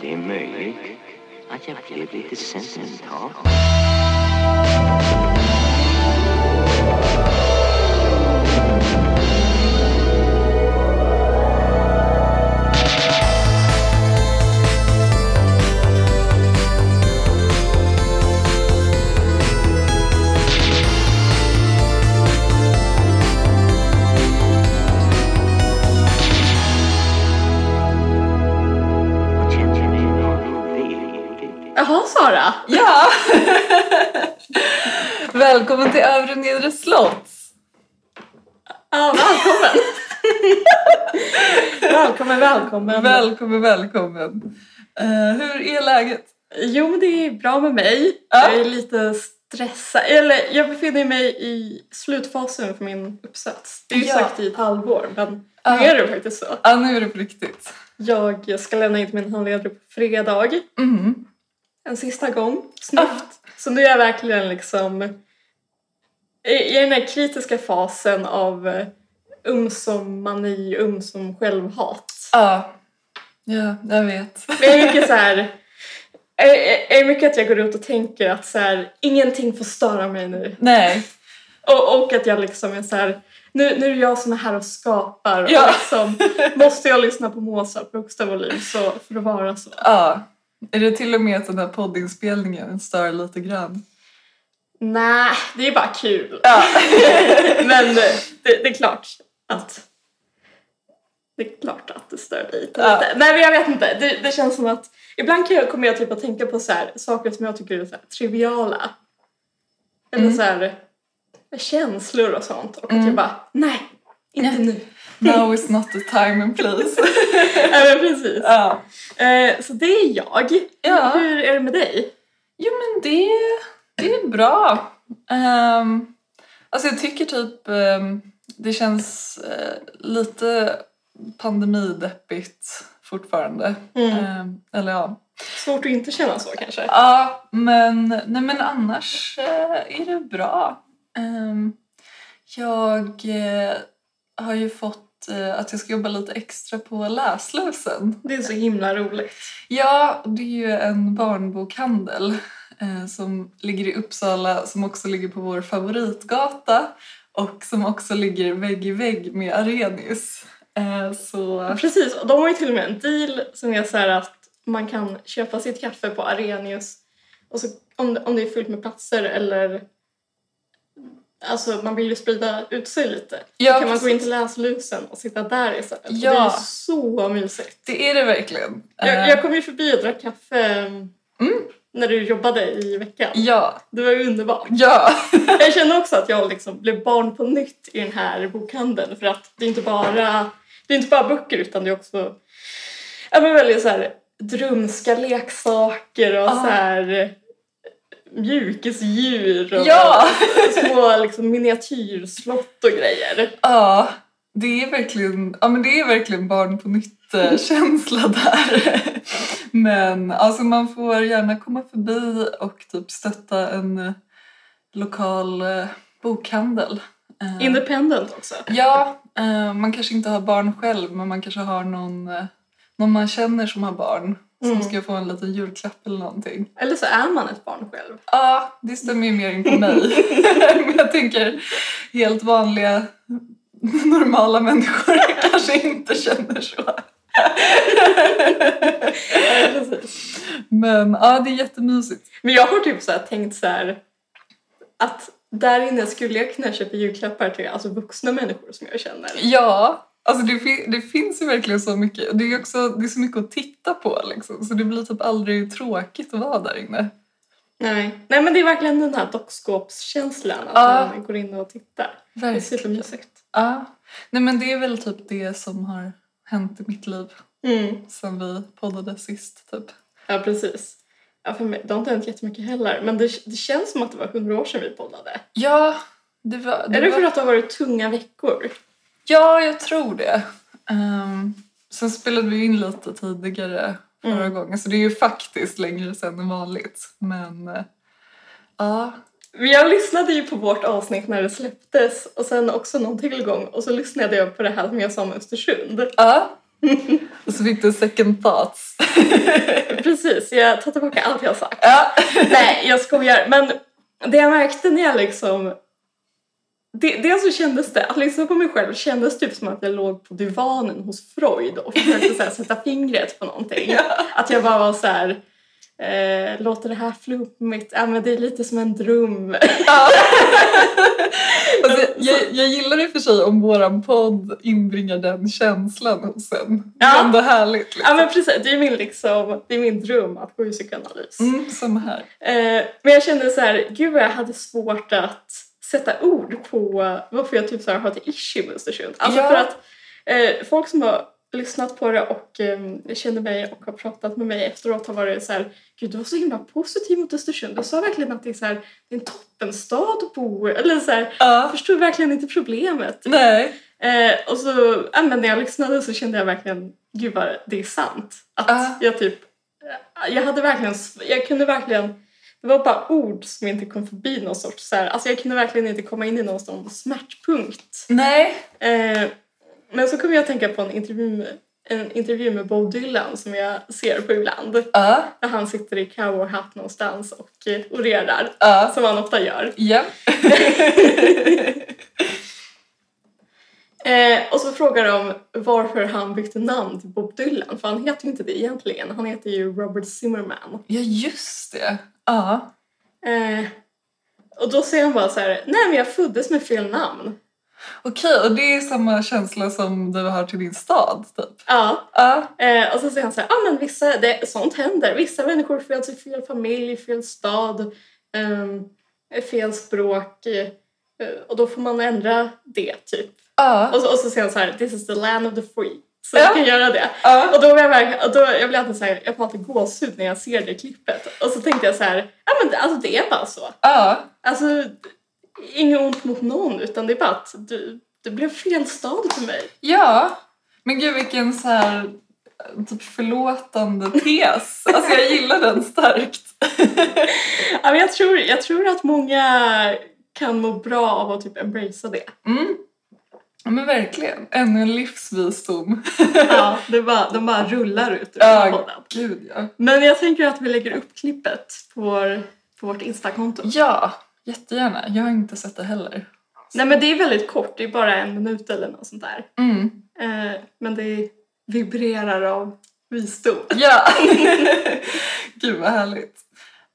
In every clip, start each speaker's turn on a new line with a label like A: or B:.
A: Det är möjligt att jag blev lite sentimental. Jag känner mig väldigt-
B: Jaha, Sara.
C: Ja! Välkommen till Övre Nedre Slotts!
B: Ja, välkommen. välkommen, välkommen.
C: Välkommen, välkommen! Eh, hur är läget?
B: jo, men det är bra med mig.
C: Ja.
B: Jag är lite stressad. Eller jag befinner mig i slutfasen för min uppsats. Det är ju
C: Ja.
B: sagt i ett halvår, men
C: Ja.
B: nu är det faktiskt så.
C: Ja, nu är det på riktigt.
B: Jag ska lämna in till min handledare på fredag.
C: Mhm.
B: En sista gång. Snyggt. Så nu är jag verkligen liksom i i den här kritiska fasen av eh, ömsom mani, ömsom självhat.
C: Ja, ja jag vet.
B: Men jag är mycket så här... Jag jag- jag är mycket att jag går ut och tänker att så här, ingenting får störa mig nu.
C: Nej.
B: Och, och att jag liksom är så här, nu, nu är det jag som är här och skapar. Och
C: Ja.
B: liksom, måste jag lyssna på Mozart på högsta volym så för att vara så?
C: Ja. Är det till och med att den här poddinspelningen stör lite grann?
B: Nej, det är bara kul.
C: Ja.
B: Men eh, det, det är klart att det är klart att det stör dig lite.
C: Ja.
B: Nej men jag vet inte, det, det känns som att ibland kan jag, kommer jag typ att tänka på så här, saker som jag tycker är så här, triviala. Eller
C: Mm.
B: så här, känslor och sånt. Och
C: Mm.
B: att jag bara, nej, inte nu.
C: Now is not the time and place.
B: Ja, men precis.
C: Ja.
B: Eh, så det är jag.
C: Ja.
B: Hur är det med dig?
C: Jo men det, det är bra. Um, alltså jag tycker typ ehm, det känns eh, lite pandemideppigt fortfarande.
B: Mm.
C: Ehm, eller ja.
B: Svårt att inte känna så kanske.
C: Ja men, nej, men annars eh, är det bra. Ehm, jag eh, har ju fått eh, att jag ska jobba lite extra på Läslusen.
B: Det är så himla roligt.
C: Ja, det är ju en barnbokhandel eh, som ligger i Uppsala som också ligger på vår favoritgata och som också ligger vägg i vägg med Arenius. Eh, så...
B: Precis, och de har ju till och med en deal som är så här att man kan köpa sitt kaffe på Arenius och så, om, om det är fullt med platser eller Alltså man vill ju sprida ut sig lite.
C: Ja,
B: då kan man gå
C: precis.
B: in till läslusen och sitta där istället. Och
C: Ja.
B: Alltså, Det är ju så mysigt.
C: Det är det verkligen. Eh,
B: Jag, jag kom ju förbi och drack kaffe mm, när du jobbade i veckan.
C: Ja,
B: Det var ju underbart.
C: ja.
B: Jag kände också att jag liksom blev barn på nytt i den här bokhandeln för att det är inte bara, det är inte bara böcker utan det är också ja, men väldigt så här, drömska leksaker och
C: Ja.
B: så här, eh, mjukisdjur och
C: Ja.
B: små liksom, miniatyrslott och grejer.
C: ja. Det är verkligen, ja, men det är verkligen barn på nytt-känsla där. Men alltså man får gärna komma förbi och typ stötta en eh, lokal eh, bokhandel.
B: Ah.
C: Eh,
B: Independent också.
C: Ja, eh, man kanske inte har barn själv men man kanske har någon, eh, någon man känner som har barn
B: Mm.
C: som ska få en liten julklapp eller någonting.
B: Eller så är man ett barn själv.
C: Ja, det stämmer ju mer in på mig. men jag tänker helt vanliga normala människor kanske inte känner så.
B: Ja, precis.
C: Men ja, det är jättemysigt.
B: Men jag har typ så här, tänkt så här att där inne skulle jag kunna köpa julklappar till alltså, vuxna människor som jag känner.
C: Ja, alltså det, fin- det finns ju verkligen så mycket. Det är ju också det är så mycket att titta på liksom så det blir typ aldrig tråkigt att vara där inne.
B: Nej. Nej, men det är verkligen den här dockskåpskänslan. Att
C: Ja.
B: man går in och tittar. Det är supermysigt.
C: Ja. Nej men det är väl typ det som har hänt i mitt liv
B: Mm.
C: sen vi poddade sist typ.
B: Ja, precis. Ja, för mig, det har inte hänt jättemycket heller. Men det, det känns som att det var hundra år sedan vi poddade.
C: Ja, det var...
B: är det
C: var-
B: för att det har varit tunga veckor?
C: Ja, jag tror det. Ehm, sen spelade vi in lite tidigare förra
B: Mm.
C: gången så det är ju faktiskt längre sen än vanligt. Men eh, ja,
B: Men Jag lyssnade ju på vårt avsnitt när det släpptes och sen också någon till gång och så lyssnade jag på det här som jag sa om Östersund.
C: ja, Och så fick du second thoughts.
B: Precis, jag tar tillbaka allt jag har sagt.
C: Ja.
B: Nej, jag skojar. Men det jag märkte när jag liksom... Det, dels så kändes det, att lyssna på mig själv kändes typ som att jag låg på divanen hos Freud och försökte så här, sätta fingret på någonting. Att jag bara var så här... Eh, låter det här flummigt? Ja, men det är lite som en dröm.
C: Ja. Alltså, jag, jag gillar i och för sig om våran podd inbringar den känslan hos en. Det
B: Ja.
C: är ändå härligt. Liksom.
B: Ja, men precis. Det är min, liksom, det är min dröm att gå i psykoanalys.
C: Mm, som här.
B: Eh, men jag kände så här, gud vad jag hade svårt att sätta ord på varför jag typ så här har ett issue med Östersund. Alltså
C: Ja.
B: för att eh, folk som har lyssnat på det och eh, känner mig och har pratat med mig efteråt har varit så här, gud du var så himla positiv mot Östersund. Du sa verkligen att det är, så här, det är en toppenstad att bo i." Eller så här, jag
C: Ja.
B: förstod verkligen inte problemet.
C: Nej.
B: Eh, och så ja, men när jag lyssnade så kände jag verkligen, gud vad det är sant. Att
C: Ja.
B: jag typ, jag hade verkligen, sv- jag kunde verkligen, det var bara ord som inte kom förbi någon sorts så här, alltså jag kunde verkligen inte komma in i någon sån smärtpunkt.
C: Nej.
B: Eh, men så kom jag att tänka på en intervju, med- en intervju med Bob Dylan som jag ser på ibland.
C: Ja.
B: Där han sitter i cowboyhatt någonstans och eh, orerar,
C: Ja.
B: som han ofta gör.
C: Ja.
B: Eh, och så frågar de varför han bytte namn till Bob Dylan, för han heter ju inte det egentligen. Han heter ju Robert Zimmerman.
C: Ja, just det. Ja.
B: Eh, och då säger han bara så här, nej men jag föddes med fel namn.
C: Okej, och det är samma känsla som du har till din stad, typ?
B: Ja,
C: Ja.
B: eh, och så säger han så här, ja ah, men vissa, det, sånt händer. Vissa människor föds i fel familj, fel stad, ehm, fel språk. Eh, och då får man ändra det typ.
C: Ja.
B: Och så, och så säger han så här, this is the land of the free. Så
C: Ja.
B: vi kan göra det.
C: Ja.
B: Och då var jag verkligen, och då, jag blev alltid så här, jag får alltid gåshud när jag ser det klippet. Och så tänkte jag så här, ja men det- alltså det är bara så.
C: Ja.
B: Alltså, inget ont mot någon utan det är bara att du, det blev fel stad för mig.
C: Ja. Men gud, vilken så här typ förlåtande tes. Alltså jag gillar den starkt.
B: Ja, men jag, tror, jag tror att många kan må bra av att typ embracea det.
C: Mm. Ja, men verkligen. Ännu en livsvisdom.
B: Ja, det bara, de bara rullar ut ur
C: Ja.
B: podden.
C: Gud, ja.
B: Men jag tänker att vi lägger upp klippet på, vår, på vårt Instakonto.
C: Ja, jättegärna. Jag har inte sett det heller.
B: Nej men det är väldigt kort, det är bara en minut eller något sånt där.
C: Mm.
B: Eh, men det vibrerar av visdom.
C: Ja! Gud, vad härligt.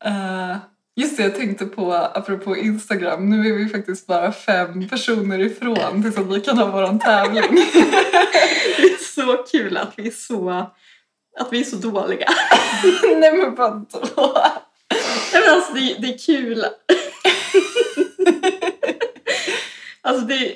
C: Eh, just det, jag tänkte på, apropå Instagram, nu är vi faktiskt bara fem personer ifrån tills att vi kan ha vår tävling.
B: Det är så kul att vi är så, att vi är så dåliga.
C: Nej, men vadå?
B: Nej, men alltså, det, är- det är kul. alltså det är...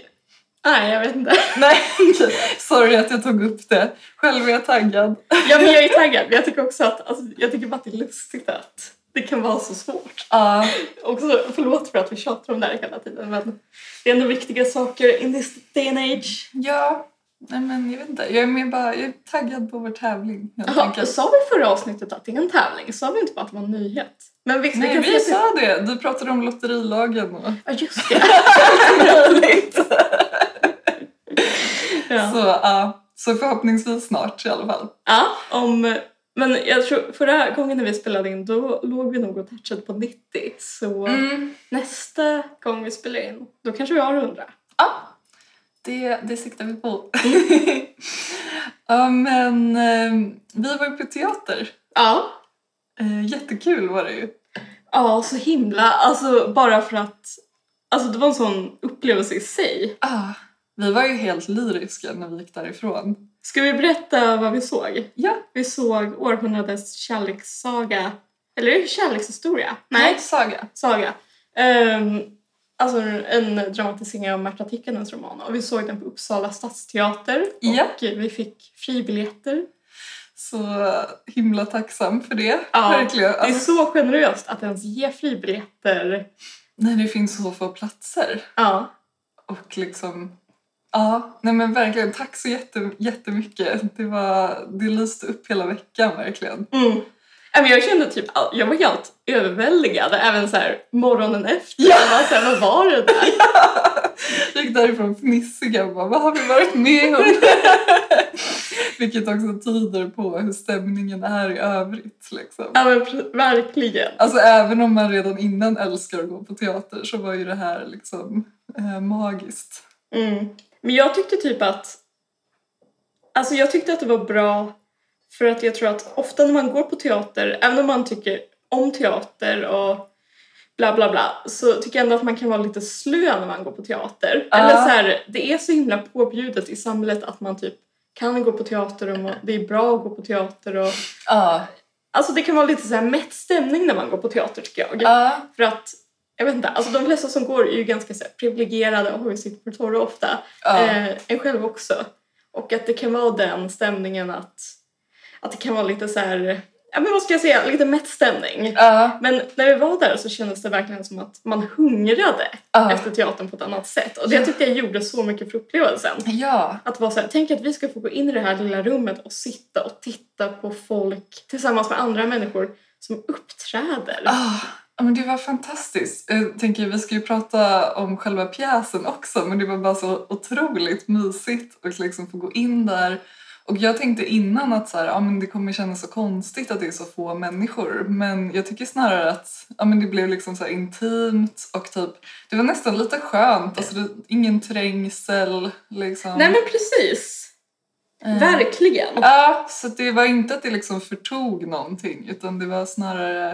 B: Nej, jag vet inte.
C: Nej, okej. sorry att jag tog upp det. Själv är jag taggad.
B: Ja, men jag är taggad. Men jag tycker också att, alltså, jag tycker bara att det är lustigt att det kan vara så svårt.
C: Ja,
B: Och så, förlåt för att vi tjatar om det här hela tiden, men det är ändå viktiga saker in this day and age.
C: ja. Nej, men jag vet inte. Jag är mer bara jag är taggad på vår tävling, helt
B: Jaha,
C: enkelt.
B: sa vi förra avsnittet att det är en tävling? Sa vi inte bara att det var en nyhet? Men vi, vi
C: Nej,
B: kan
C: vi
B: säga att
C: sa det. Du pratade om lotterilagen och
B: det- Ja, just det.
C: möjligt.
B: ja.
C: Så, ja, så förhoppningsvis snart i alla fall.
B: ja, om... Men jag tror förra gången när vi spelade in då låg vi nog och touchade på 90. Så nästa gång vi spelar in då kanske vi har 100.
C: Ja, det, det siktar vi på. ja, men eh, vi var ju på teater.
B: Ja.
C: Eh, jättekul var det ju.
B: Ja, så himla. Alltså bara för att... Alltså det var en sån upplevelse i sig.
C: Ah, vi var ju helt lyriska när vi gick därifrån.
B: Ska vi berätta vad vi såg?
C: Ja,
B: Vi såg århundradets kärlekssaga. Eller är det kärlekshistoria? Nej.
C: saga.
B: saga. Ehm, alltså en dramatisering av Märta Tikkanens roman. Och vi såg den på Uppsala stadsteater. Och
C: Ja.
B: vi fick fribiljetter.
C: Så himla tacksam för det.
B: Ja,
C: Verkligen.
B: Det är
C: Alltså,
B: så generöst att ens ge fribiljetter.
C: När det finns så få platser.
B: Ja.
C: Och liksom, ja, nej men verkligen tack så jätte, jättemycket. Det, var, det lyste upp hela veckan verkligen.
B: Mm. Nej, men Jag kände typ, all- jag var helt överväldigad även så här, morgonen efter.
C: Ja.
B: Jag var så här, vad var det där?
C: Jag gick därifrån fnissiga och bara, vad har vi varit med om? Vilket också tyder på hur stämningen är i övrigt. Liksom.
B: Ja, men pre- verkligen.
C: Alltså även om man redan innan älskar att gå på teater så var ju det här liksom eh, magiskt.
B: Mm. Men jag tyckte typ att... Alltså jag tyckte att det var bra för att jag tror att ofta när man går på teater, även om man tycker om teater och bla bla bla, så tycker jag ändå att man kan vara lite slö när man går på teater.
C: Ja.
B: Eller så här, det är så himla påbjudet i samhället att man typ kan gå på teater och må- det är bra att gå på teater och...
C: Ja.
B: Alltså det kan vara lite så här mätt stämning när man går på teater tycker jag.
C: ja.
B: För att, jag vet inte, alltså de flesta som går är ju ganska så här, privilegierade och har ju sitt på torra ofta.
C: Ja.
B: Eh, en själv också. Och att det kan vara den stämningen att, att det kan vara lite så här, ja men vad ska jag säga, lite mätt stämning.
C: Ja.
B: Men när vi var där så kändes det verkligen som att man hungrade
C: Ja.
B: efter teatern på ett annat sätt. Och det tyckte jag gjorde så mycket för upplevelsen.
C: Ja.
B: Att vara så här, tänk att vi ska få gå in i det här lilla rummet och sitta och titta på folk tillsammans med andra människor som uppträder.
C: Ah, ja, men det var fantastiskt. Jag tänker, vi ska ju prata om själva pjäsen också, men det var bara så otroligt mysigt att liksom få gå in där. Och jag tänkte innan att så här, ja, men det kommer kännas så konstigt att det är så få människor, men jag tycker snarare att ja, men det blev liksom så här intimt och typ, det var nästan lite skönt. Alltså, det, ingen trängsel. Liksom.
B: Nej men precis,
C: Eh.
B: verkligen.
C: Ja, så det var inte att det liksom förtog någonting utan det var snarare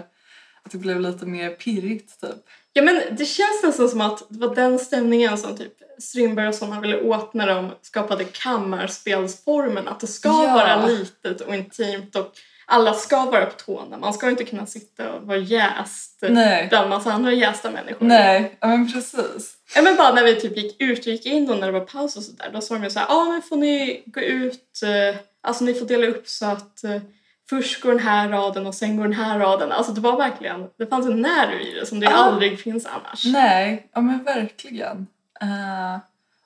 C: att det blev lite mer pirrigt typ.
B: Ja men det känns nästan som att det var den stämningen som typ Strindberg och sådana ville åt när de skapade kammarspelsformen. Att det ska
C: Ja.
B: vara litet och intimt och alla ska vara på tårna. Man ska inte kunna sitta och vara jäst
C: Nej,
B: bland massa andra jästa människor.
C: nej, ja, men precis.
B: Ja, men bara när vi typ gick ut och gick in och när det var paus och sådär, då sa de ju såhär, ja ah, nu får ni gå ut, eh, alltså ni får dela upp så att eh, först går den här raden och sen går den här raden. Alltså det var verkligen, det fanns en nerv i det som det
C: Ja.
B: aldrig finns annars.
C: Nej, ja men verkligen. Eh,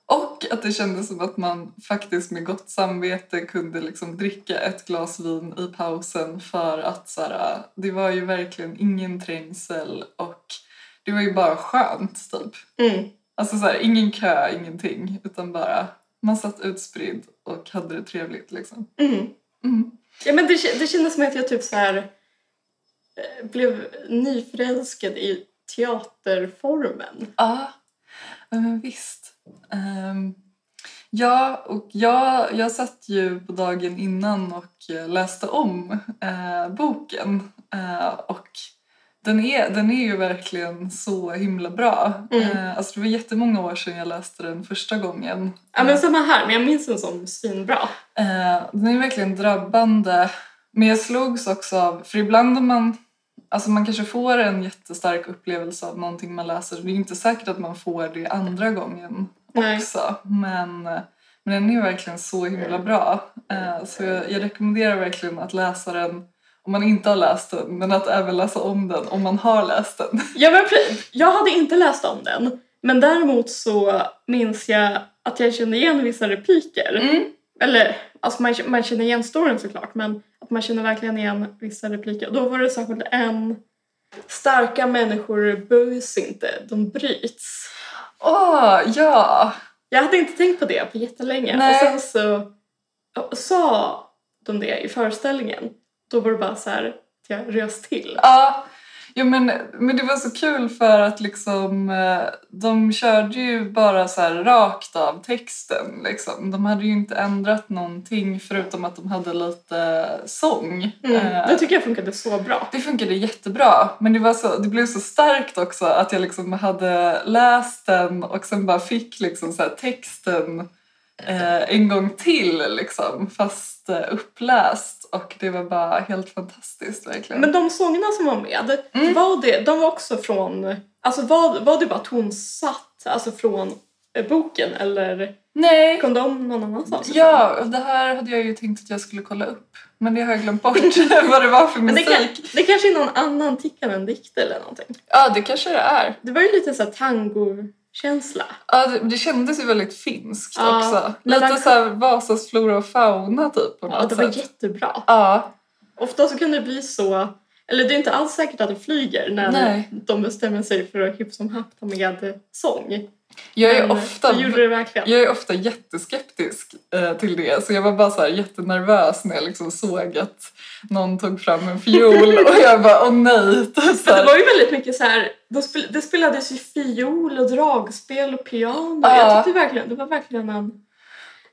C: och att det kändes som att man faktiskt med gott samvete kunde liksom dricka ett glas vin i pausen för att så här, det var ju verkligen ingen trängsel och det var ju bara skönt typ.
B: Mm.
C: Alltså så här, ingen kö, ingenting, utan bara man satt utspridd och hade det trevligt liksom.
B: Mm.
C: Mm.
B: Ja, men det, kä- det kändes som att jag typ så här eh, blev nyförälskad i teaterformen.
C: Ja, ja, men visst. Ehm, ja, och jag, jag satt ju på dagen innan och eh, läste om eh, boken. Eh, och den är, den är ju verkligen så himla bra.
B: Mm.
C: Eh, alltså det var jättemånga år sedan jag läste den första gången.
B: Ja, men samma här, men jag minns den som svinbra.
C: Eh, den är verkligen drabbande. Men jag slogs också av, för ibland om man, alltså man kanske får en jättestark upplevelse av någonting man läser, det är inte säkert att man får det andra gången
B: Nej.
C: också. Men, men den är verkligen så himla bra. Eh, så jag, jag rekommenderar verkligen att läsa den om man inte har läst den, men att även läsa om den om man har läst den.
B: Ja, men pre- jag hade inte läst om den, men däremot så minns jag att jag kände igen vissa repliker.
C: Mm.
B: Eller, alltså man, man känner igen storyn såklart, men att man känner verkligen igen vissa repliker. Då var det särskilt en Starka människor böjs inte, de bryts.
C: Åh, ja!
B: Jag hade inte tänkt på det på jättelänge.
C: Nej.
B: Och sen så ja, sa de det i föreställningen. Då var det bara så här att jag rös till.
C: Ja, ja men, men det var så kul för att liksom, eh, de körde ju bara så här rakt av texten. Liksom. De hade ju inte ändrat någonting förutom att de hade lite sång. Eh,
B: Mm. Det tycker jag funkade så bra.
C: det funkade jättebra, men det, var så, det blev så starkt också att jag liksom hade läst den och sen bara fick liksom så här texten eh, en gång till, liksom, fast eh, uppläst. Och det var bara helt fantastiskt verkligen.
B: Men de sångerna som var med,
C: Mm.
B: var det, de var också från... Alltså var, var det bara tonsatt alltså från eh, boken eller
C: Nej,
B: kom de någon annanstans ifrån?
C: Ja, och det här hade jag ju tänkt att jag skulle kolla upp. Men det har jag glömt bort vad det var för
B: Men det,
C: musik.
B: kan, det kanske är någon annan tickande än dikt eller någonting.
C: Ja, det kanske det är.
B: Det var ju lite så här tango-känsla.
C: Ja, det, det kändes ju väldigt finskt
B: Ja,
C: också.
B: men
C: Lite
B: den-
C: så här Vasas flora och fauna typ på något
B: Ja, det var
C: sätt.
B: jättebra.
C: Ja,
B: Ofta så kan det bli så Eller det är inte alls säkert att det flyger när
C: Nej.
B: de bestämmer sig för att hipp som happ ta med sång.
C: Jag är
B: Men, eh,
C: ofta
B: Det gjorde det verkligen.
C: Jag är ofta jätteskeptisk eh, till det, så jag var bara så här jättenervös när jag liksom såg att någon tog fram en fiol och jag bara åh nej. typ Så
B: För det
C: här.
B: var ju väldigt mycket så här, de spel, det spelades ju fiol och dragspel och piano.
C: Ja.
B: Jag tyckte verkligen, det var verkligen en, det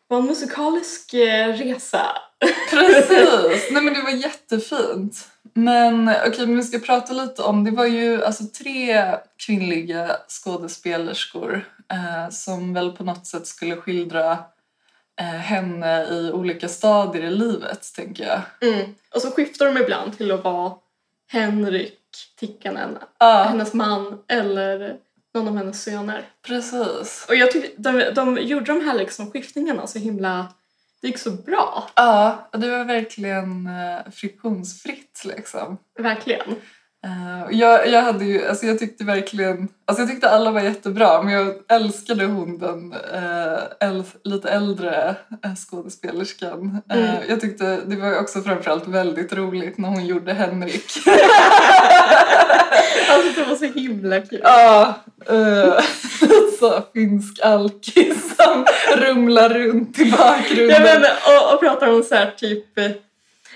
B: var en musikalisk eh, resa.
C: Precis! Nej men det var jättefint. Men okej, men vi ska prata lite om, det var ju alltså tre kvinnliga skådespelerskor eh, som väl på något sätt skulle skildra eh, henne i olika stadier i livet, tänker jag.
B: Och så skiftar de ibland till att vara Henrik Tikkanen,
C: Ja,
B: hennes man eller någon av hennes söner.
C: precis.
B: Och jag tyckte de, de gjorde de här liksom skiftningarna så himla, det gick så bra.
C: Ja, och det var verkligen eh, friktionsfritt liksom.
B: Verkligen.
C: Eh, och Jag, jag, hade ju, alltså jag tyckte verkligen, alltså jag tyckte alla var jättebra men jag älskade hon den eh, äl, lite äldre eh, skådespelerskan. Eh,
B: Mm.
C: Jag tyckte det var ju också framförallt väldigt roligt när hon gjorde Henrik.
B: Alltså det var så himla kul.
C: Ja, eh, så finsk alkis som rumlar runt i bakgrunden.
B: Jag menar, och, och pratar om så här typ eh,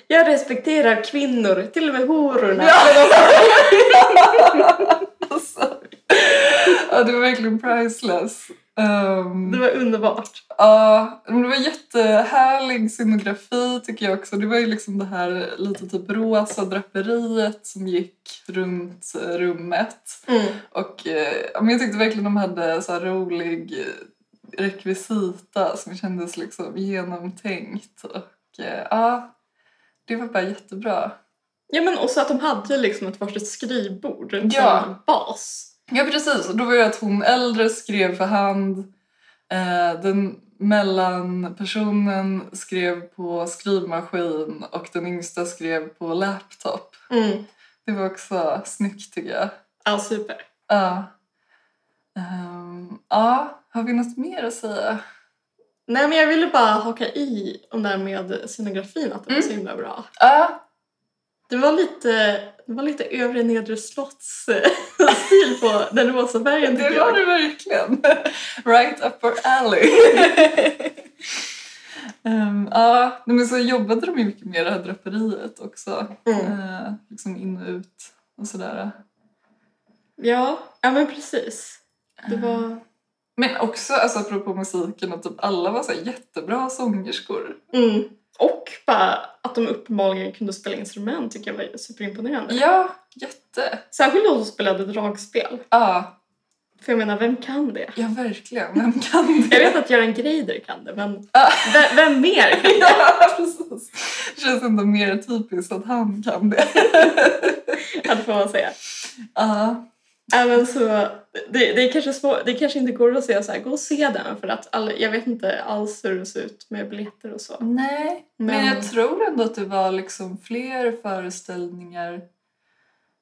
B: jag respekterar kvinnor, till och med hororna.
C: Alltså, ja, det var verkligen priceless. Ehm,
B: Det var underbart.
C: Ja, men det var jättehärlig scenografi tycker jag också. Det var ju liksom det här lite typ rosa draperiet som gick runt eh, rummet.
B: Mm.
C: Och eh, ja, men jag tyckte verkligen de hade så här rolig eh, rekvisita som kändes liksom genomtänkt. Och eh, ja, det var bara jättebra.
B: Ja men också att de hade liksom ett varsitt skrivbord, en
C: Ja.
B: sån bas.
C: Ja, precis. Och då var det att hon äldre skrev för hand. Eh, den mellanpersonen skrev på skrivmaskin och den yngsta skrev på laptop.
B: Mm.
C: Det var också snyggt, tycker jag.
B: Ja, super.
C: Ja. Ehm, ja, har vi något mer att säga?
B: Nej men jag ville bara haka i om det här med scenografin, att det var
C: Mm.
B: så himla bra.
C: Ja,
B: Det var lite, det var lite övre nedre slotts eh, stil på den rosa färgen
C: det
B: tycker
C: var
B: jag.
C: det verkligen. right up our alley. Ehm, Ja, nej, men så jobbade de ju mycket med det här draperiet också.
B: Mm.
C: Eh, liksom in och ut och sådär.
B: Ja, ja men precis. Det var...
C: Men också alltså, apropå musiken att typ alla var så här jättebra sångerskor.
B: Mm. Och bara att de uppenbarligen kunde spela instrument tycker jag var superimponerande.
C: Ja, jätte.
B: Särskilt de som spelade dragspel.
C: Ja,
B: För jag menar, vem kan det?
C: ja verkligen. Vem kan
B: Jag
C: det?
B: vet att Göran Greider kan det, men
C: Ja.
B: vem, vem mer? kan det?
C: Ja, precis. Det känns ändå mer typiskt att han kan det.
B: Ja, det får man säga.
C: Ja,
B: Även så, det, det, är kanske svår, det kanske inte går att säga så här, gå och se den för att alla, jag vet inte alls hur det ser ut med biljetter och så.
C: nej. Men...
B: Men-
C: jag tror ändå att det var liksom fler föreställningar.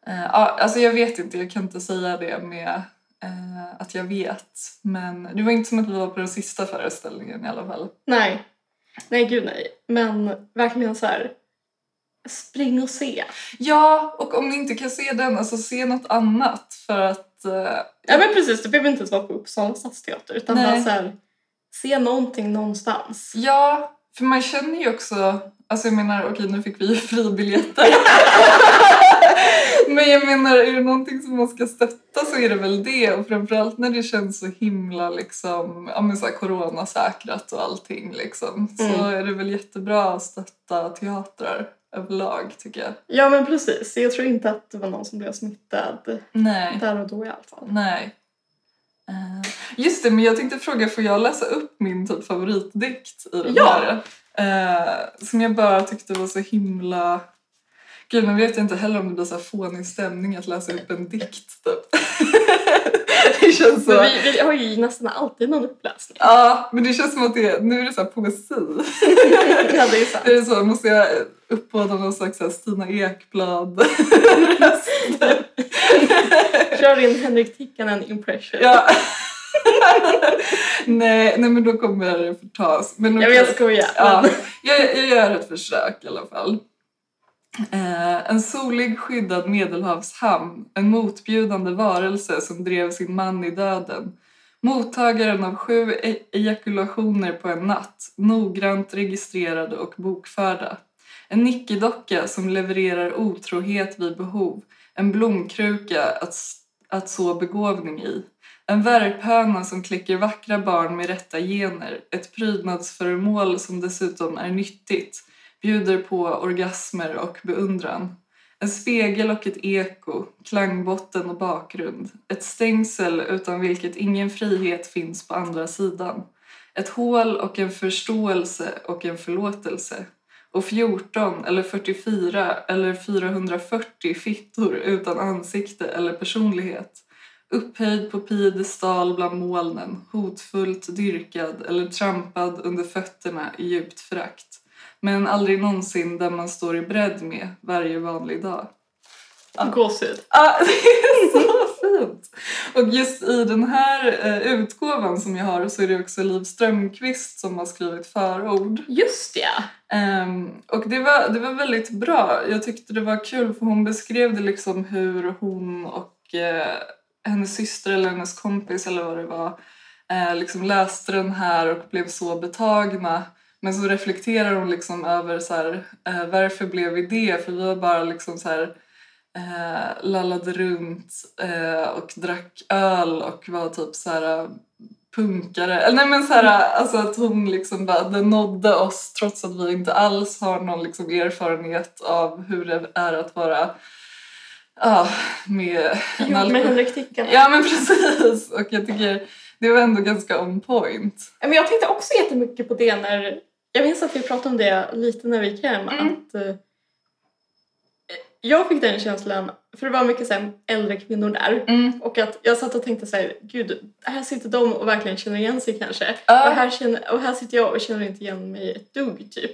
C: Eh, ja, alltså jag vet inte, jag kan inte säga det med eh, att jag vet. Men det var inte som att vi var på den sista föreställningen i alla fall.
B: Nej, nej gud nej. Men verkligen så här, spring och se.
C: Ja, och om ni inte kan se den, alltså se något annat för att... eh,
B: Ja men precis, det behöver inte ens vara på Uppsala stadsteater utan
C: Nej.
B: bara så här, se någonting någonstans.
C: ja, för man känner ju också... Alltså jag menar, okej nu fick vi ju fribiljetter. Men jag menar, är det någonting som man ska stötta så är det väl det. Och framförallt när det känns så himla liksom, ja men så här coronasäkrat och allting liksom. Så
B: Mm.
C: är det väl jättebra att stötta teatrar överlag tycker jag.
B: Ja men precis, jag tror inte att det var någon som blev smittad
C: Nej.
B: där och då i alla fall.
C: Nej. Eh, just det, men jag tänkte fråga, får jag läsa upp min typ favoritdikt i den
B: Ja.
C: här? Eh, som jag bara tyckte var så himla... Gud, nu vet jag inte heller om det blir så här fånig stämning att läsa upp en dikt. Typ. det känns så...
B: Men vi, vi har ju nästan alltid någon uppläsning.
C: Ja, men det känns som att det, nu är det så här poesi.
B: ja, det är sant.
C: Är det så? Måste jag uppbåda någon slags så här Stina Ekblad?
B: Kör in Henrik Tikkanen impression.
C: Ja. nej, nej, men då kommer det förtas. Men
B: Jag
C: okej.
B: vet, jag skojar.
C: ja,
B: Men,
C: jag, jag gör ett försök i alla fall. Eh, en solig skyddad medelhavshamn, en motbjudande varelse som drev sin man i döden. Mottagaren av sju e- ejakulationer på en natt, noggrant registrerade och bokförda. En nickedocka som levererar otrohet vid behov, en blomkruka att, s- att så begåvning i. En värphöna som kläcker vackra barn med rätta gener, ett prydnadsföremål som dessutom är nyttigt bjuder på orgasmer och beundran. En spegel och ett eko, klangbotten och bakgrund. Ett stängsel utan vilket ingen frihet finns på andra sidan. Ett hål och en förståelse och en förlåtelse. Och 14 eller 44 eller 440 fittor utan ansikte eller personlighet. Upphöjd på piedestal bland molnen, hotfullt dyrkad eller trampad under fötterna i djupt förakt men aldrig någonsin där man står i bredd med varje vanlig dag. Ja.
B: Gåshud.
C: Ah, det är så fint! Och just i den här eh, utgåvan som jag har så är det också Liv Strömquist som har skrivit förord.
B: Just ja!
C: Ehm, och det var, det var väldigt bra. Jag tyckte det var kul för hon beskrev det liksom hur hon och eh, hennes syster eller hennes kompis eller vad det var eh, liksom läste den här och blev så betagna. Men så reflekterar hon liksom över så här, eh, varför blev vi det? För vi var bara liksom så här eh, lallade runt eh, och drack öl och var typ så här punkare. Eller nej men så här, alltså att hon liksom bara, den nådde oss trots att vi inte alls har någon liksom erfarenhet av hur det är att vara ja, med en
B: Jo, med
C: alko-
B: Henrik Tickan.
C: Ja men precis! Och jag tycker det var ändå ganska on point.
B: Men jag tänkte också jättemycket på det när... Jag minns att vi pratade om det lite när vi gick hem.
C: Mm.
B: Att, eh, jag fick den känslan, för det var mycket så här, äldre kvinnor där.
C: Mm.
B: Och att jag satt och tänkte så här, gud, här sitter de och verkligen känner igen sig kanske.
C: Ja.
B: Och, här känner, och här sitter jag och känner inte igen mig ett dugg typ.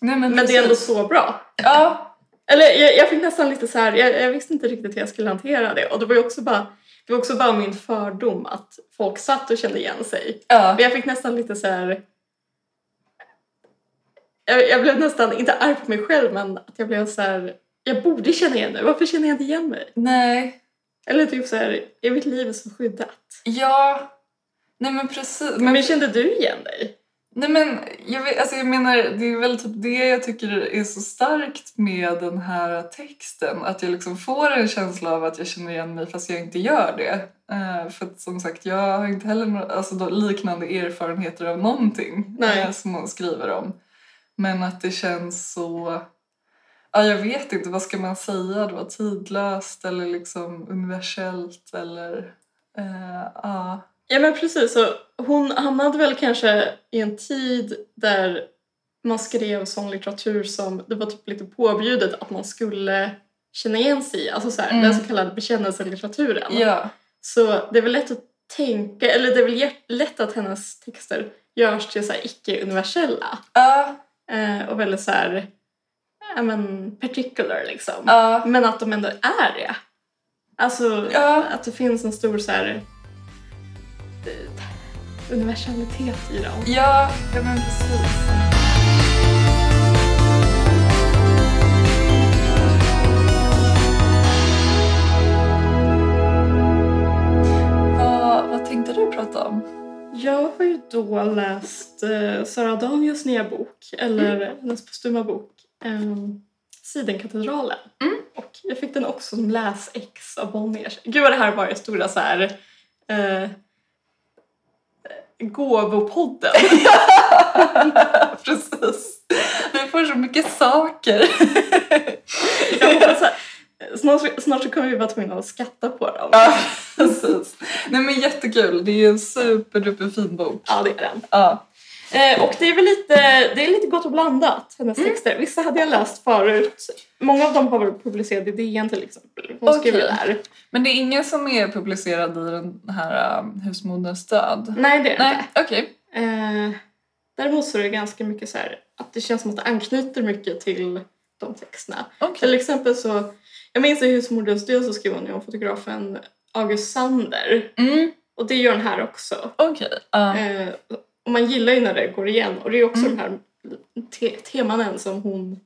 C: Nej, men
B: Men det är ändå
C: precis.
B: så bra.
C: Ja,
B: Eller jag, jag fick nästan lite så här, jag, jag visste inte riktigt hur jag skulle hantera det. Och det var ju också bara, det var också bara min fördom att folk satt och kände igen sig.
C: ja.
B: Men jag fick nästan lite så här... Jag, jag blev nästan, inte arg på mig själv, men att jag blev så här... Jag borde känna igen mig. Varför känner jag inte igen mig?
C: Nej,
B: Eller typ så här, är mitt liv så skyddat?
C: Ja, nej men precis. Men,
B: Men kände du igen dig?
C: nej men, jag, vet, alltså jag menar, det är väl typ det jag tycker är så starkt med den här texten. Att jag liksom får en känsla av att jag känner igen mig fast jag inte gör det. Eh, för att som sagt, jag har inte heller några, alltså, då, liknande erfarenheter av någonting
B: Nej.
C: eh, som hon skriver om. Men att det känns så... Ja, jag vet inte, vad ska man säga då? Tidlöst eller liksom universellt eller... eh, ja.
B: Ja men precis, så hon hamnade väl kanske i en tid där man skrev sån litteratur som det var typ lite påbjudet att man skulle känna igen sig i. Alltså så här,
C: Mm.
B: den så kallade bekännelselitteraturen.
C: ja.
B: Så det är väl lätt att tänka, eller det är väl hjärt- lätt att hennes texter görs till så här icke-universella
C: Ja,
B: eh, och väldigt så här, ja men particular liksom.
C: ja,
B: Men att de ändå är det. Alltså
C: Ja.
B: att det finns en stor så här eh, universalitet i dem.
C: ja, ja men precis. Vad, vad tänkte du prata om?
B: Jag har ju då läst eh, Sara Danius nya bok, eller
C: Mm.
B: hennes postuma bok, eh, Sidenkatedralen.
C: Mm.
B: Och jag fick den också som läsex av Bonniers. Gud vad det här var det stora så här, eh, gåvopodden.
C: precis. Vi får så mycket saker.
B: Jag hoppas att- Snart, snart så kommer vi vara tvungna att skatta på dem.
C: ja, precis. Nej men jättekul. Det är ju en superduper fin bok.
B: Ja, det är den.
C: Ja.
B: Eh, och det är väl lite, det är lite gott och blandat, hennes
C: Mm.
B: texter. Vissa hade jag läst förut. Många av dem har varit publicerade i DN till exempel. Hon skriver
C: Okej.
B: där.
C: Men det är ingen som är publicerad i den här um, Husmoderns död?
B: Nej, det är det inte.
C: Nej, okej.
B: Eh, däremot så är det ganska mycket så här att det känns som att det anknyter mycket till de texterna.
C: Okej.
B: Till exempel så, jag minns i Husmordens död så skrev hon ju om fotografen August Sander
C: Mm,
B: och det gör den här också.
C: okej. Ja.
B: Eh, och man gillar ju när det går igen och det är också
C: Mm.
B: de här te- temanen som hon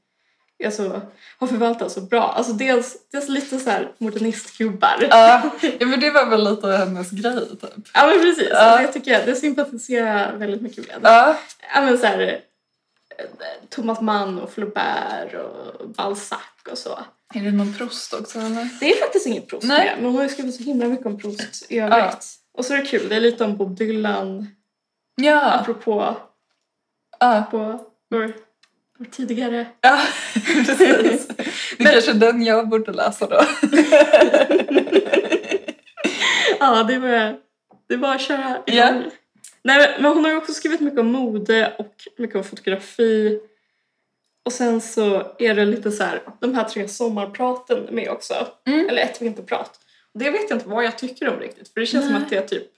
B: alltså, har förvaltat så bra. Alltså dels, dels lite så här modernistgubbar.
C: Ja, ja, men det var väl lite hennes grej typ.
B: Ja men precis,
C: Ja.
B: alltså, jag tycker det sympatiserar jag väldigt mycket med.
C: Ja,
B: Ja men så här, eh, Thomas Mann och Flaubert och Balzac och så.
C: är det någon prost också eller?
B: Det är faktiskt inget Proust
C: Nej.
B: med, men hon har ju skrivit så himla mycket om Proust i övrigt.
C: Ja.
B: Och så är det kul, det är lite om Bob Dylan,
C: Ja,
B: apropå
C: ja,
B: på vår, vår tidigare...
C: ja precis. Det är kanske är den jag borde läsa då.
B: Ja, det var, det var att köra igång.
C: Ja.
B: Nej, men hon har ju också skrivit mycket om mode och mycket om fotografi. Och sen så är det lite så här, de här tre sommarpraten med också.
C: Mm.
B: Eller ett vinterprat. Och Det vet jag inte vad jag tycker om riktigt. För det känns som
C: Nej.
B: att det är typ...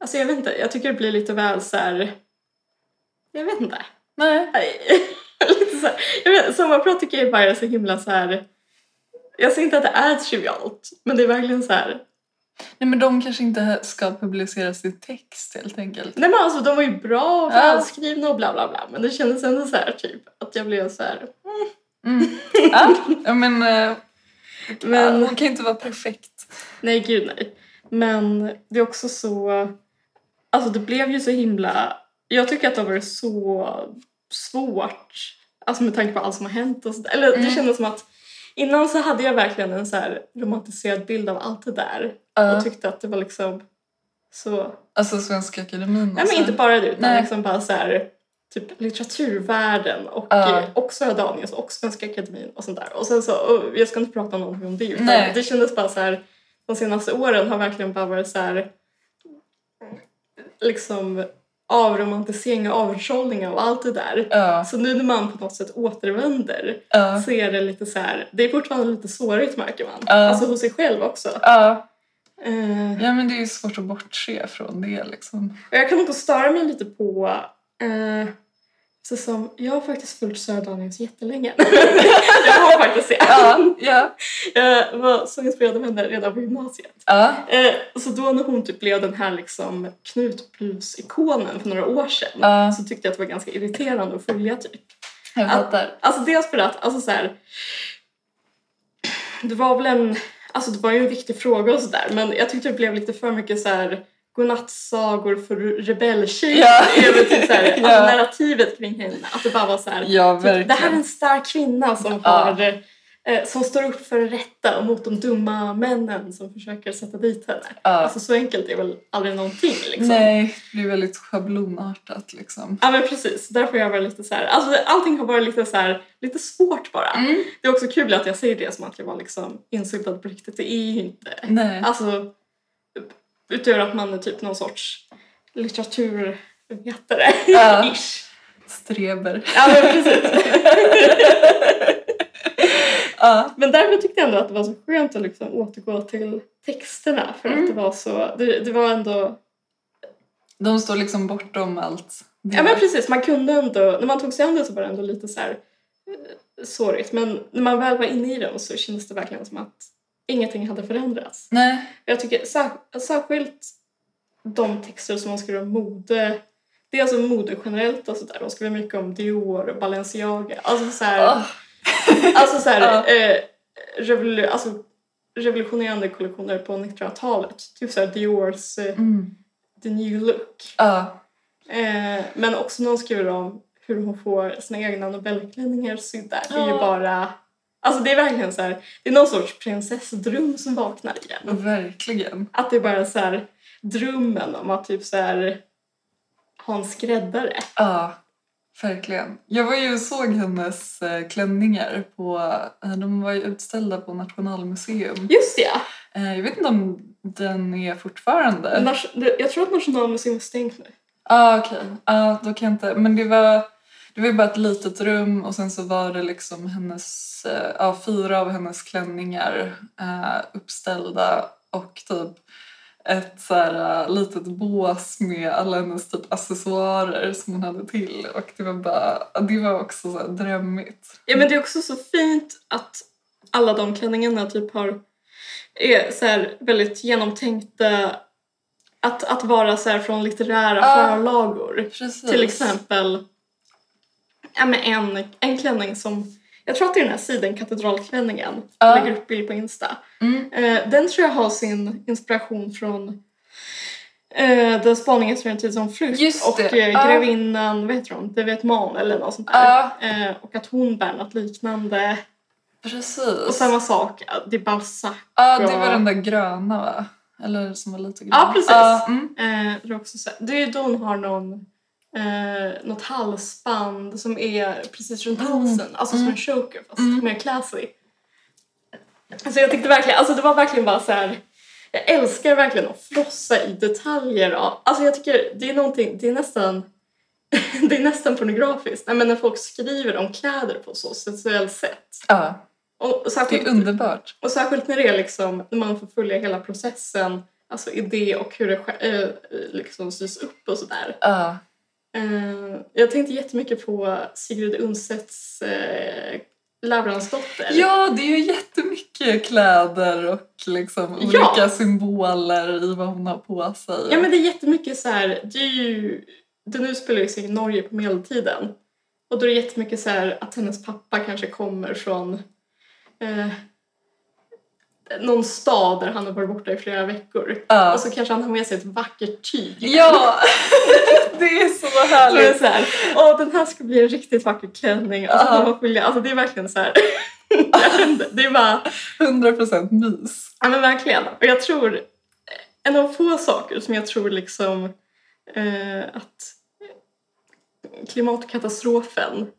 B: Alltså jag vet inte, jag tycker det blir lite väl så här... Jag vet inte.
C: Nej.
B: Nej. lite så här. Jag vet, sommarprat tycker jag bara är så himla så här... Jag säger inte att det är trivialt, men det är verkligen så här...
C: Nej, men de kanske inte ska publiceras i text helt enkelt.
B: Nej men alltså de var ju bra och
C: Ja.
B: välskrivna och bla bla bla. Men det kändes ändå så här typ att jag blev så här...
C: Mm. Ja, ja, men eh,
B: Men
C: hon kan inte vara perfekt.
B: nej gud nej. Men det är också så... Alltså det blev ju så himla... Jag tycker att det har varit så svårt. Alltså med tanke på allt som har hänt och sådär. Eller det
C: Mm.
B: kändes som att innan så hade jag verkligen en så här romantiserad bild av allt det där.
C: Ja,
B: Och tyckte att det var liksom så...
C: alltså Svenska Akademin.
B: Nej men
C: också.
B: inte bara det utan
C: Alltså, Nej.
B: liksom bara så här, typ litteraturvärlden och
C: Ja.
B: uh. också Höga Daniels och Svenska Akademin och sånt där. Och sen så, och jag ska inte prata någonting om det utan
C: Nej.
B: det kändes bara så här, de senaste åren har verkligen bara varit så här liksom avromantisering och avtrollning av allt det där.
C: Ja,
B: Så nu när man på något sätt återvänder
C: ja,
B: så är det lite så här, det är fortfarande lite sårigt märker man.
C: Ja.
B: Alltså hos sig själv också.
C: ja.
B: Eh,
C: Ja, men det är ju svårt att bortse från det liksom.
B: Och Jag kan också störa mig lite på... Eh, eftersom jag har faktiskt följt Sara Danius jättelänge. jag har faktiskt det. Eh,
C: Ja, ja,
B: Jag var så inspirerad av henne redan på gymnasiet.
C: ja,
B: Eh, så då när hon typ blev den här liksom knutblusikonen för några år sedan
C: Ja.
B: så tyckte jag att det var ganska irriterande att följa typ.
C: jag fattar.
B: Alltså dels för att, alltså så här, det var väl en, alltså det var ju en viktig fråga och sådär men jag tyckte det blev lite för mycket så här godnattsagor för rebelltjejer
C: Ja.
B: över till så här,
C: Ja.
B: alltså narrativet kring henne. Att det bara var så här,
C: Ja,
B: typ, det här är
C: verkligen.
B: en stark kvinna som
C: Ja.
B: har eh, som står upp för det rätta och mot de dumma männen som försöker sätta dit henne.
C: Ja.
B: Alltså så enkelt är väl aldrig någonting liksom.
C: Nej, det blir väldigt schablonartat liksom.
B: Ja men precis, därför har jag varit lite så här, alltså allting har varit lite så här, lite svårt bara.
C: Mm.
B: Det är också kul att jag säger det som att jag var liksom insyltad på riktigt. Det är ju inte.
C: Nej.
B: Alltså, utöver att man är typ någon sorts litteraturvetare.
C: Ja.
B: Ish.
C: Streber.
B: Ja, men precis.
C: Ja,
B: Men därför tyckte jag ändå att det var så skönt att liksom återgå till texterna. För
C: Mm.
B: att det var så, det, det var ändå,
C: de står liksom bortom allt. det.
B: ja men precis, man kunde ändå, när man tog sig an det så var det ändå lite så här eh, sorgligt. Men när man väl var inne i dem så kändes det verkligen som att ingenting hade förändrats.
C: Nej,
B: Jag tycker sär, särskilt de texter som hon skriver om mode. Det är alltså mode generellt och sådär. Hon skriver mycket om Dior och Balenciaga. Alltså såhär,
C: Åh,
B: alltså så här,
C: Ja.
B: eh, revolu- alltså, revolutionerande kollektioner på 1900-talet. Typ såhär Diors eh,
C: mm.
B: The New Look.
C: Ja,
B: Eh, men också när hon skriver om hur hon får sina egna Nobelklänningar sydda. Det är ju
C: Ja.
B: bara... Alltså det är verkligen så här, det är någon sorts prinsessdröm som vaknar igen.
C: Mm. verkligen.
B: Att det är bara så här drömmen om att typ så här ha en skräddare.
C: Ja, verkligen. Jag var ju och såg hennes eh, klänningar på, eh, de var ju utställda på Nationalmuseum.
B: Just det! ja.
C: Eh, Jag vet inte om den är fortfarande. Ja,
B: Nas- det- Jag tror att Nationalmuseum är stängt nu.
C: ah, okej. Ah, då kan jag inte, men det var, det var ju bara ett litet rum och sen så var det liksom hennes, eh, ja, fyra av hennes klänningar eh, uppställda och typ ett så här eh, litet bås med alla hennes typ accessoarer som hon hade till och det var bara, ja, det var också så här drömmigt.
B: Ja men det är också så fint att alla de klänningarna typ har är så här väldigt genomtänkta att, att vara så här från litterära
C: Ja.
B: förlagor.
C: Precis.
B: Till exempel ja, men en, en klänning som Jag tror att det är den här sidan Katedralklänningen.
C: Ja.
B: Jag lägger upp bild på Insta.
C: Mm.
B: Eh, den tror jag har sin inspiration från eh, den spaningen som jag tid som flytt
C: Just
B: och
C: det,
B: eh,
C: ja.
B: grevinnan, vad heter hon, Devet Man eller något sånt där.
C: Ja.
B: Eh, och att hon bär något liknande. Och
C: Precis.
B: samma sak, eh, det är Balzac.
C: Ja, det var
B: Ja.
C: den där gröna va? Eller som var lite grön.
B: Ja, precis.
C: Ja, mm.
B: Eh, det, är också så, det är ju då hon har någon, eh, något halsband som är precis runt
C: Mm.
B: halsen, alltså som
C: Mm.
B: en choker fast
C: Mm.
B: mer classy. Alltså jag tyckte verkligen, alltså det var verkligen bara så här. Jag älskar verkligen att frossa i detaljer. av- Alltså jag tycker det är någonting, det är nästan det är nästan pornografiskt. Nej, men när folk skriver om kläder på så sensuellt sätt.
C: Ja,
B: Och, och
C: det
B: särskilt,
C: är underbart.
B: och särskilt när det är liksom, när man får följa hela processen, alltså idé och hur det sk- eh, liksom sys upp och sådär.
C: Ja.
B: Eh, jag tänkte jättemycket på Sigrid Undsets eh, Lauransdotter.
C: ja, det är ju jättemycket kläder och liksom olika
B: Ja.
C: symboler i vad hon har på sig.
B: ja men det är jättemycket så här, det är ju, den utspelar ju sig i Norge på medeltiden. Och då är det jättemycket så här att hennes pappa kanske kommer från eh, någon stad där han har varit borta i flera veckor.
C: Ja.
B: Och så kanske han har med sig ett vackert tyg.
C: Ja, det är
B: Så
C: så
B: det är
C: härligt.
B: Alltså, så här, åh den här ska bli en riktigt vacker klänning. Alltså,
C: Ja.
B: uh alltså det är verkligen så här. Jag vet inte, det är bara,
C: 100% mys.
B: ja men verkligen. Och jag tror, en av få saker som jag tror liksom eh, att klimatkatastrofen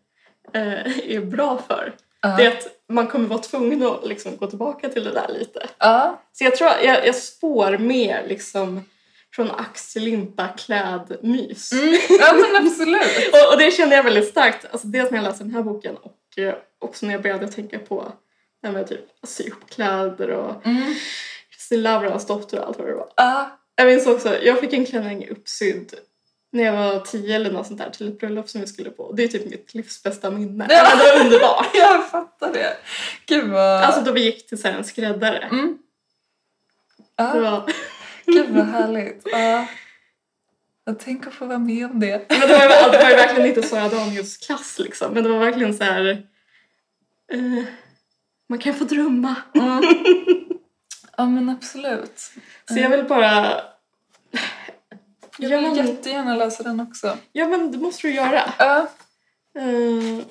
B: eh, är bra för,
C: Ja.
B: det är att man kommer vara tvungen att liksom gå tillbaka till det där lite.
C: Ja.
B: Så jag tror, jag, jag spår mer liksom från ax till limpa klädmys.
C: Mm. ja, men absolut.
B: Och, och det känner jag väldigt starkt, alltså dels när jag läste den här boken och eh, också när jag började tänka på det här med typ att sy upp kläder och
C: Mm.
B: Kristin Lavrans dotter och allt vad det var.
C: Ja.
B: Jag minns också, jag fick en klänning uppsydd när jag var tio eller något sånt där till ett bröllop som vi skulle på. Det är typ mitt livs bästa minne.
C: Ja.
B: Ja. men Det var underbart!
C: Jag fattar det. Gud vad...
B: Alltså då vi gick till så här en skräddare.
C: mm.
B: Det
C: ja.
B: var,
C: Gud vad härligt. Ja. Jag tänker få vara med om det.
B: men det, var, ju- alltså, det var ju verkligen inte Sara Danius klass liksom, men det var verkligen så här. Eh, man kan få drömma.
C: Ja men absolut.
B: Så jag vill bara...
C: Jag
B: Ja,
C: vill
B: men-
C: jättegärna läsa den också.
B: Ja, men det måste du göra.
C: Ja.
B: Eh,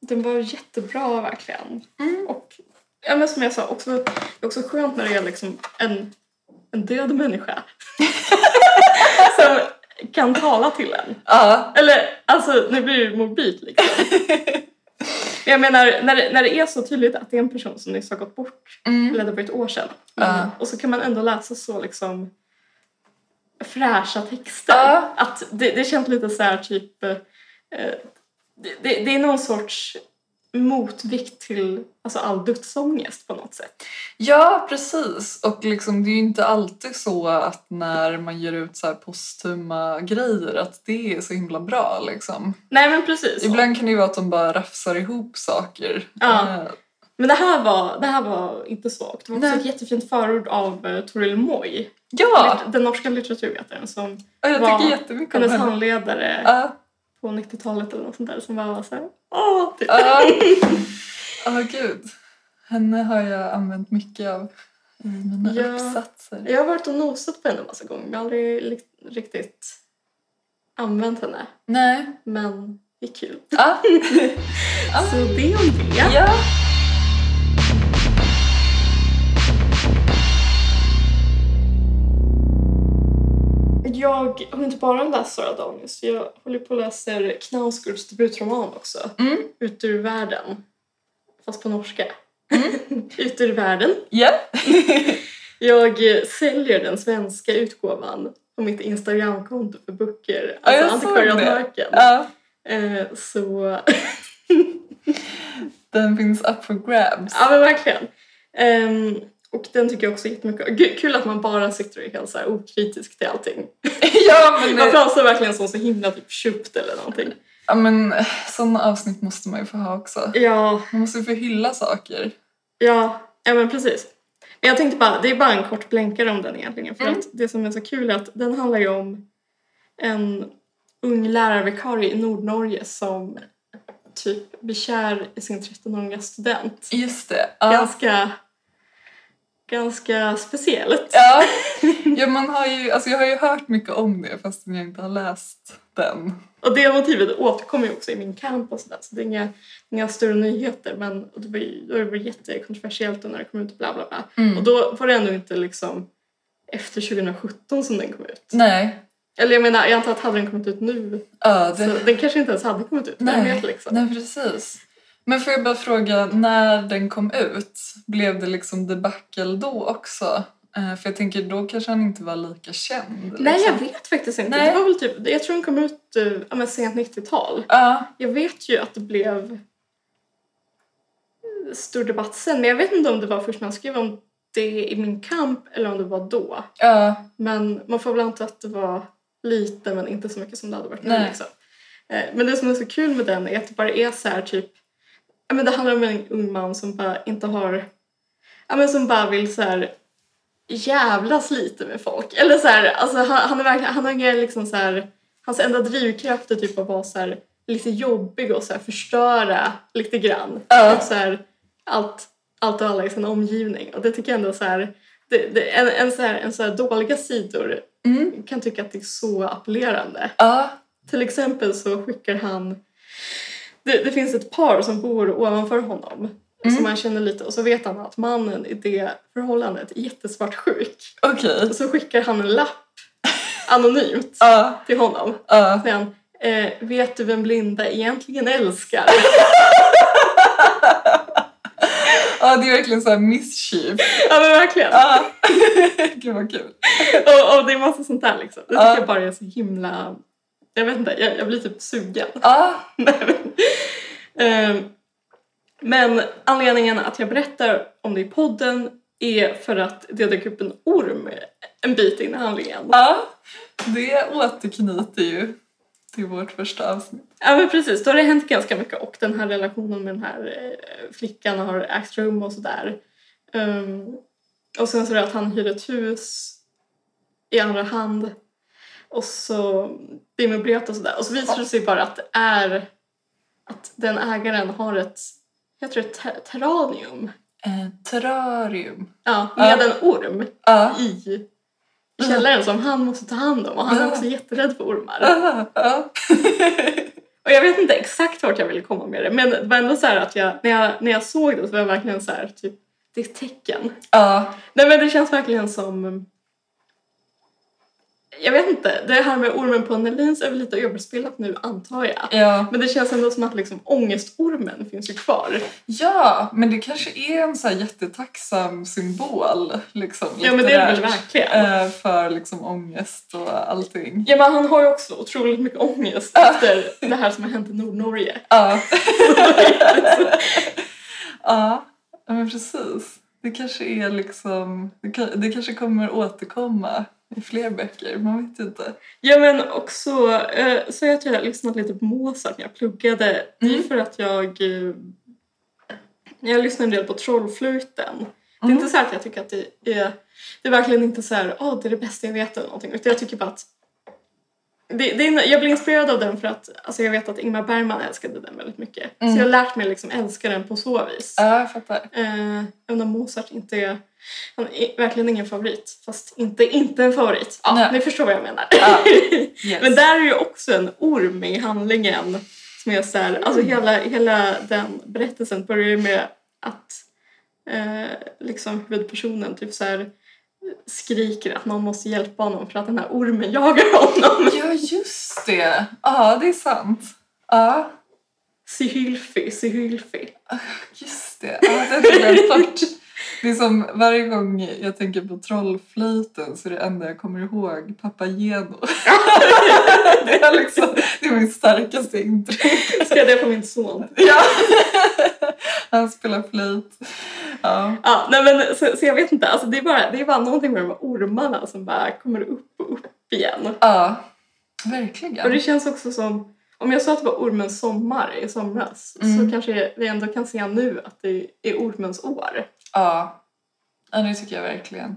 B: den var jättebra, verkligen.
C: Mm.
B: Och ja, men som jag sa, också, det är också skönt när det är liksom en, en död människa som kan tala till en.
C: Ja.
B: Eller, alltså, nu blir det ju morbid liksom. Men Jag menar, när det, när det är så tydligt att det är en person som nyss har gått bort,
C: Mm.
B: eller det var ett år sedan,
C: Ja.
B: och så kan man ändå läsa så liksom fräscha texter.
C: Ja.
B: Att det, det känns lite så här typ, eh, det, det, det är någon sorts motvikt till alltså, all dödsångest på något sätt.
C: ja, precis. Och liksom, det är ju inte alltid så att när man ger ut så här postuma grejer att det är så himla bra. Liksom.
B: Nej men precis.
C: Ibland kan det ju vara att de bara rafsar ihop saker.
B: Ja.
C: Eh,
B: Men det här var, det här var inte svagt. Det var också
C: Nej.
B: ett jättefint förord av eh, Toril Moy,
C: ja.
B: lit- den norska litteraturvetaren som
C: Ja, jag
B: Vad-
C: tycker jättemycket om
B: hennes
C: henne.
B: handledare
C: Ja.
B: på 90-talet eller något sånt där som var såhär åh, typ.
C: Ja, Åh, gud. Henne har jag använt mycket av i mina
B: Ja.
C: uppsatser.
B: Jag har varit och nosat på henne en massa gånger men jag har aldrig li- riktigt använt henne.
C: Nej.
B: Men det är kul.
C: Ja. Ja.
B: Så det om det.
C: ja.
B: Jag har inte bara läst Sara Danius. Jag håller på och läser Knausgårds debutroman också.
C: Mm.
B: Ut ur världen. Fast på norska. Ut ur världen.
C: Ja.
B: Jag eh, säljer den svenska utgåvan på mitt Instagramkonto för böcker.
C: Ja, jag
B: Alltså
C: såg
B: antikvariatmörken.
C: Ja.
B: Eh, Så
C: Den finns up for grabs.
B: Ja men verkligen. Ehm, och den tycker jag också jättemycket om. Gud, Kul att man bara sitter och är helt så här okritisk till allting.
C: Ja, men,
B: Man
C: det,
B: pratar verkligen som så himla typ köpt eller någonting.
C: ja, men sådana avsnitt måste man ju få ha också.
B: Ja,
C: Man måste ju få hylla saker.
B: ja, ja men precis. Men jag tänkte bara, det är bara en kort blänkare om den egentligen. För
C: Mm.
B: att det som är så kul är att den handlar ju om en ung lärarvikarie i Nordnorge som typ blir kär i sin 13-åriga student.
C: Just det. Ja.
B: Ganska, ganska speciellt.
C: Ja. ja, man har ju, alltså jag har ju hört mycket om det fastän jag inte har läst den.
B: Och det motivet återkommer ju också i min kamp och sådär. Så det är inga, inga större nyheter men och det var ju, då var det jättekontroversiellt och när det kom ut och bla bla bla.
C: Mm.
B: Och då var det ändå inte liksom efter 2017 som den kom ut.
C: Nej,
B: Eller jag menar, jag antar att hade den kommit ut nu
C: ja, det,
B: så den kanske inte ens hade kommit ut. Vem
C: Nej.
B: vet liksom.
C: nej precis. Men får jag bara fråga, när den kom ut, blev det liksom debacle då också? Eh, för jag tänker, då kanske han inte var lika känd.
B: Nej,
C: liksom.
B: jag vet faktiskt inte.
C: Nej.
B: Det var väl typ, jag tror den kom ut eh, ja, men sent 90-tal.
C: Ja,
B: Jag vet ju att det blev eh, stor debatt sen, men jag vet inte om det var först när han skrev om det i Min kamp eller om det var då.
C: ja,
B: Men man får väl anta att det var lite, men inte så mycket som det hade varit nu.
C: Nej.
B: Liksom. Eh, Men det som är så kul med den är att det bara är så här typ... ja, Men det handlar om en ung man som bara inte har... Ja, men som bara vill så här jävlas lite med folk. Eller så här, alltså han, han är verkligen, han har inga liksom så här, hans enda drivkraft är typ att vara så här lite jobbig och så här förstöra lite grann.
C: Ja.
B: Typ Så här, allt, allt och alla i sin omgivning. Och det tycker jag ändå så här, det, det, en, en, så här, en så här dåliga sidor
C: mm,
B: kan tycka att det är så appellerande.
C: ja,
B: Till exempel så skickar han... Det, det finns ett par som bor ovanför honom
C: Mm.
B: som han känner lite och så vet han att mannen i det förhållandet är jättesvartsjuk.
C: okej.
B: Och så skickar han en lapp anonymt
C: Ja,
B: till honom.
C: ja.
B: Säger han, eh, vet du vem Linda egentligen älskar?
C: Ja, det är verkligen så här mischief.
B: ja men verkligen.
C: Ja. Gud vad kul.
B: Och, och det är massa sånt där liksom. Det tycker
C: Ja.
B: jag bara är så himla... Jag vet inte, jag, jag blir typ sugen.
C: Ja,
B: Nej, men- Ehm, Men anledningen att jag berättar om det i podden är för att det dök upp en orm en bit in i handlingen.
C: ja. Det återknyter ju till vårt första avsnitt.
B: Ja men precis, då har det hänt ganska mycket och den här relationen med den här eh, flickan har ägt rum och sådär. Ehm, och sen så är det att han hyr ett hus i andra hand och så blir möblerat och sådär. Och så visar det sig bara att det är att den ägaren har ett, heter det ter- terranium?
C: Eh, terrarium.
B: Ja, med
C: Ja.
B: en orm
C: Ja.
B: i källaren som han måste ta hand om och han är
C: Ja.
B: också jätterädd för ormar.
C: Ja, ja.
B: Och jag vet inte exakt vart jag ville komma med det men det var ändå så här att jag, när jag, när jag såg det så var jag verkligen så här typ, det är ett tecken.
C: ja.
B: Nej men det känns verkligen som jag vet inte, det här med ormen på Nelins är väl lite överspelat nu antar jag.
C: ja.
B: Men det känns ändå som att liksom ångestormen finns ju kvar.
C: Ja, men det kanske är en så här jättetacksam symbol. Liksom,
B: Ja men det är det väl
C: litterärt,
B: verkligen.
C: eh, För liksom ångest och allting.
B: Ja men han har ju också otroligt mycket ångest
C: Ja.
B: efter det här som har hänt i Nordnorge.
C: Ja. ja, ja, men precis. Det kanske är liksom... Det, kan, det kanske kommer återkomma i fler böcker, man vet inte.
B: Ja men också eh, så är jag att jag har lyssnat lite på Mozart när jag pluggade. Det är ju
C: Mm.
B: för att jag eh, jag lyssnar en del på Trollflöjten. Det är
C: Mm.
B: inte så här att jag tycker att det är det är verkligen inte så här åh det är det bästa jag vet eller någonting utan jag tycker bara att det, det är, jag blev inspirerad av den för att alltså jag vet att Ingmar Bergman älskade den väldigt mycket.
C: Mm.
B: Så jag har lärt mig liksom älska den på så vis.
C: Ja, jag fattar.
B: Eh, även om Mozart inte är, han är verkligen ingen favorit. Fast inte, inte en favorit. Ja,
C: Nej.
B: ni förstår vad jag menar.
C: Ja. Yes.
B: Men där är ju också en orm i handlingen. Som är så här, alltså hela, hela den berättelsen börjar ju med att eh, liksom huvudpersonen typ så här skriker att någon måste hjälpa honom för att den här ormen jagar honom.
C: Ja, just det. Ja, det är sant. Ja,
B: Sihylfi, Sihylfi.
C: just det. Ja, det är väldigt fort. Det är som varje gång jag tänker på trollflöjten så är det enda jag kommer ihåg Papageno. det, är liksom, det är min starkaste intryck.
B: Ska jag det på min son?
C: Ja. Han spelar flöjt. Ja.
B: Ja, nej men, så, så jag vet inte, alltså, det, är bara, det är bara någonting med de här ormarna som bara kommer upp och upp igen.
C: ja,
B: Och det
C: verkligen.
B: känns också som, om jag sa att det var ormens sommar i somras så
C: Mm.
B: kanske vi ändå kan se nu att det är ormens år.
C: Ja. ja, det tycker jag verkligen.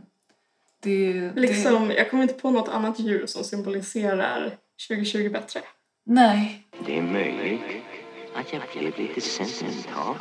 C: Det, det,
B: Liksom, jag kommer inte på något annat djur som symboliserar 2020 bättre.
C: nej,
A: Det är möjligt I can't feel it, this sentence talk.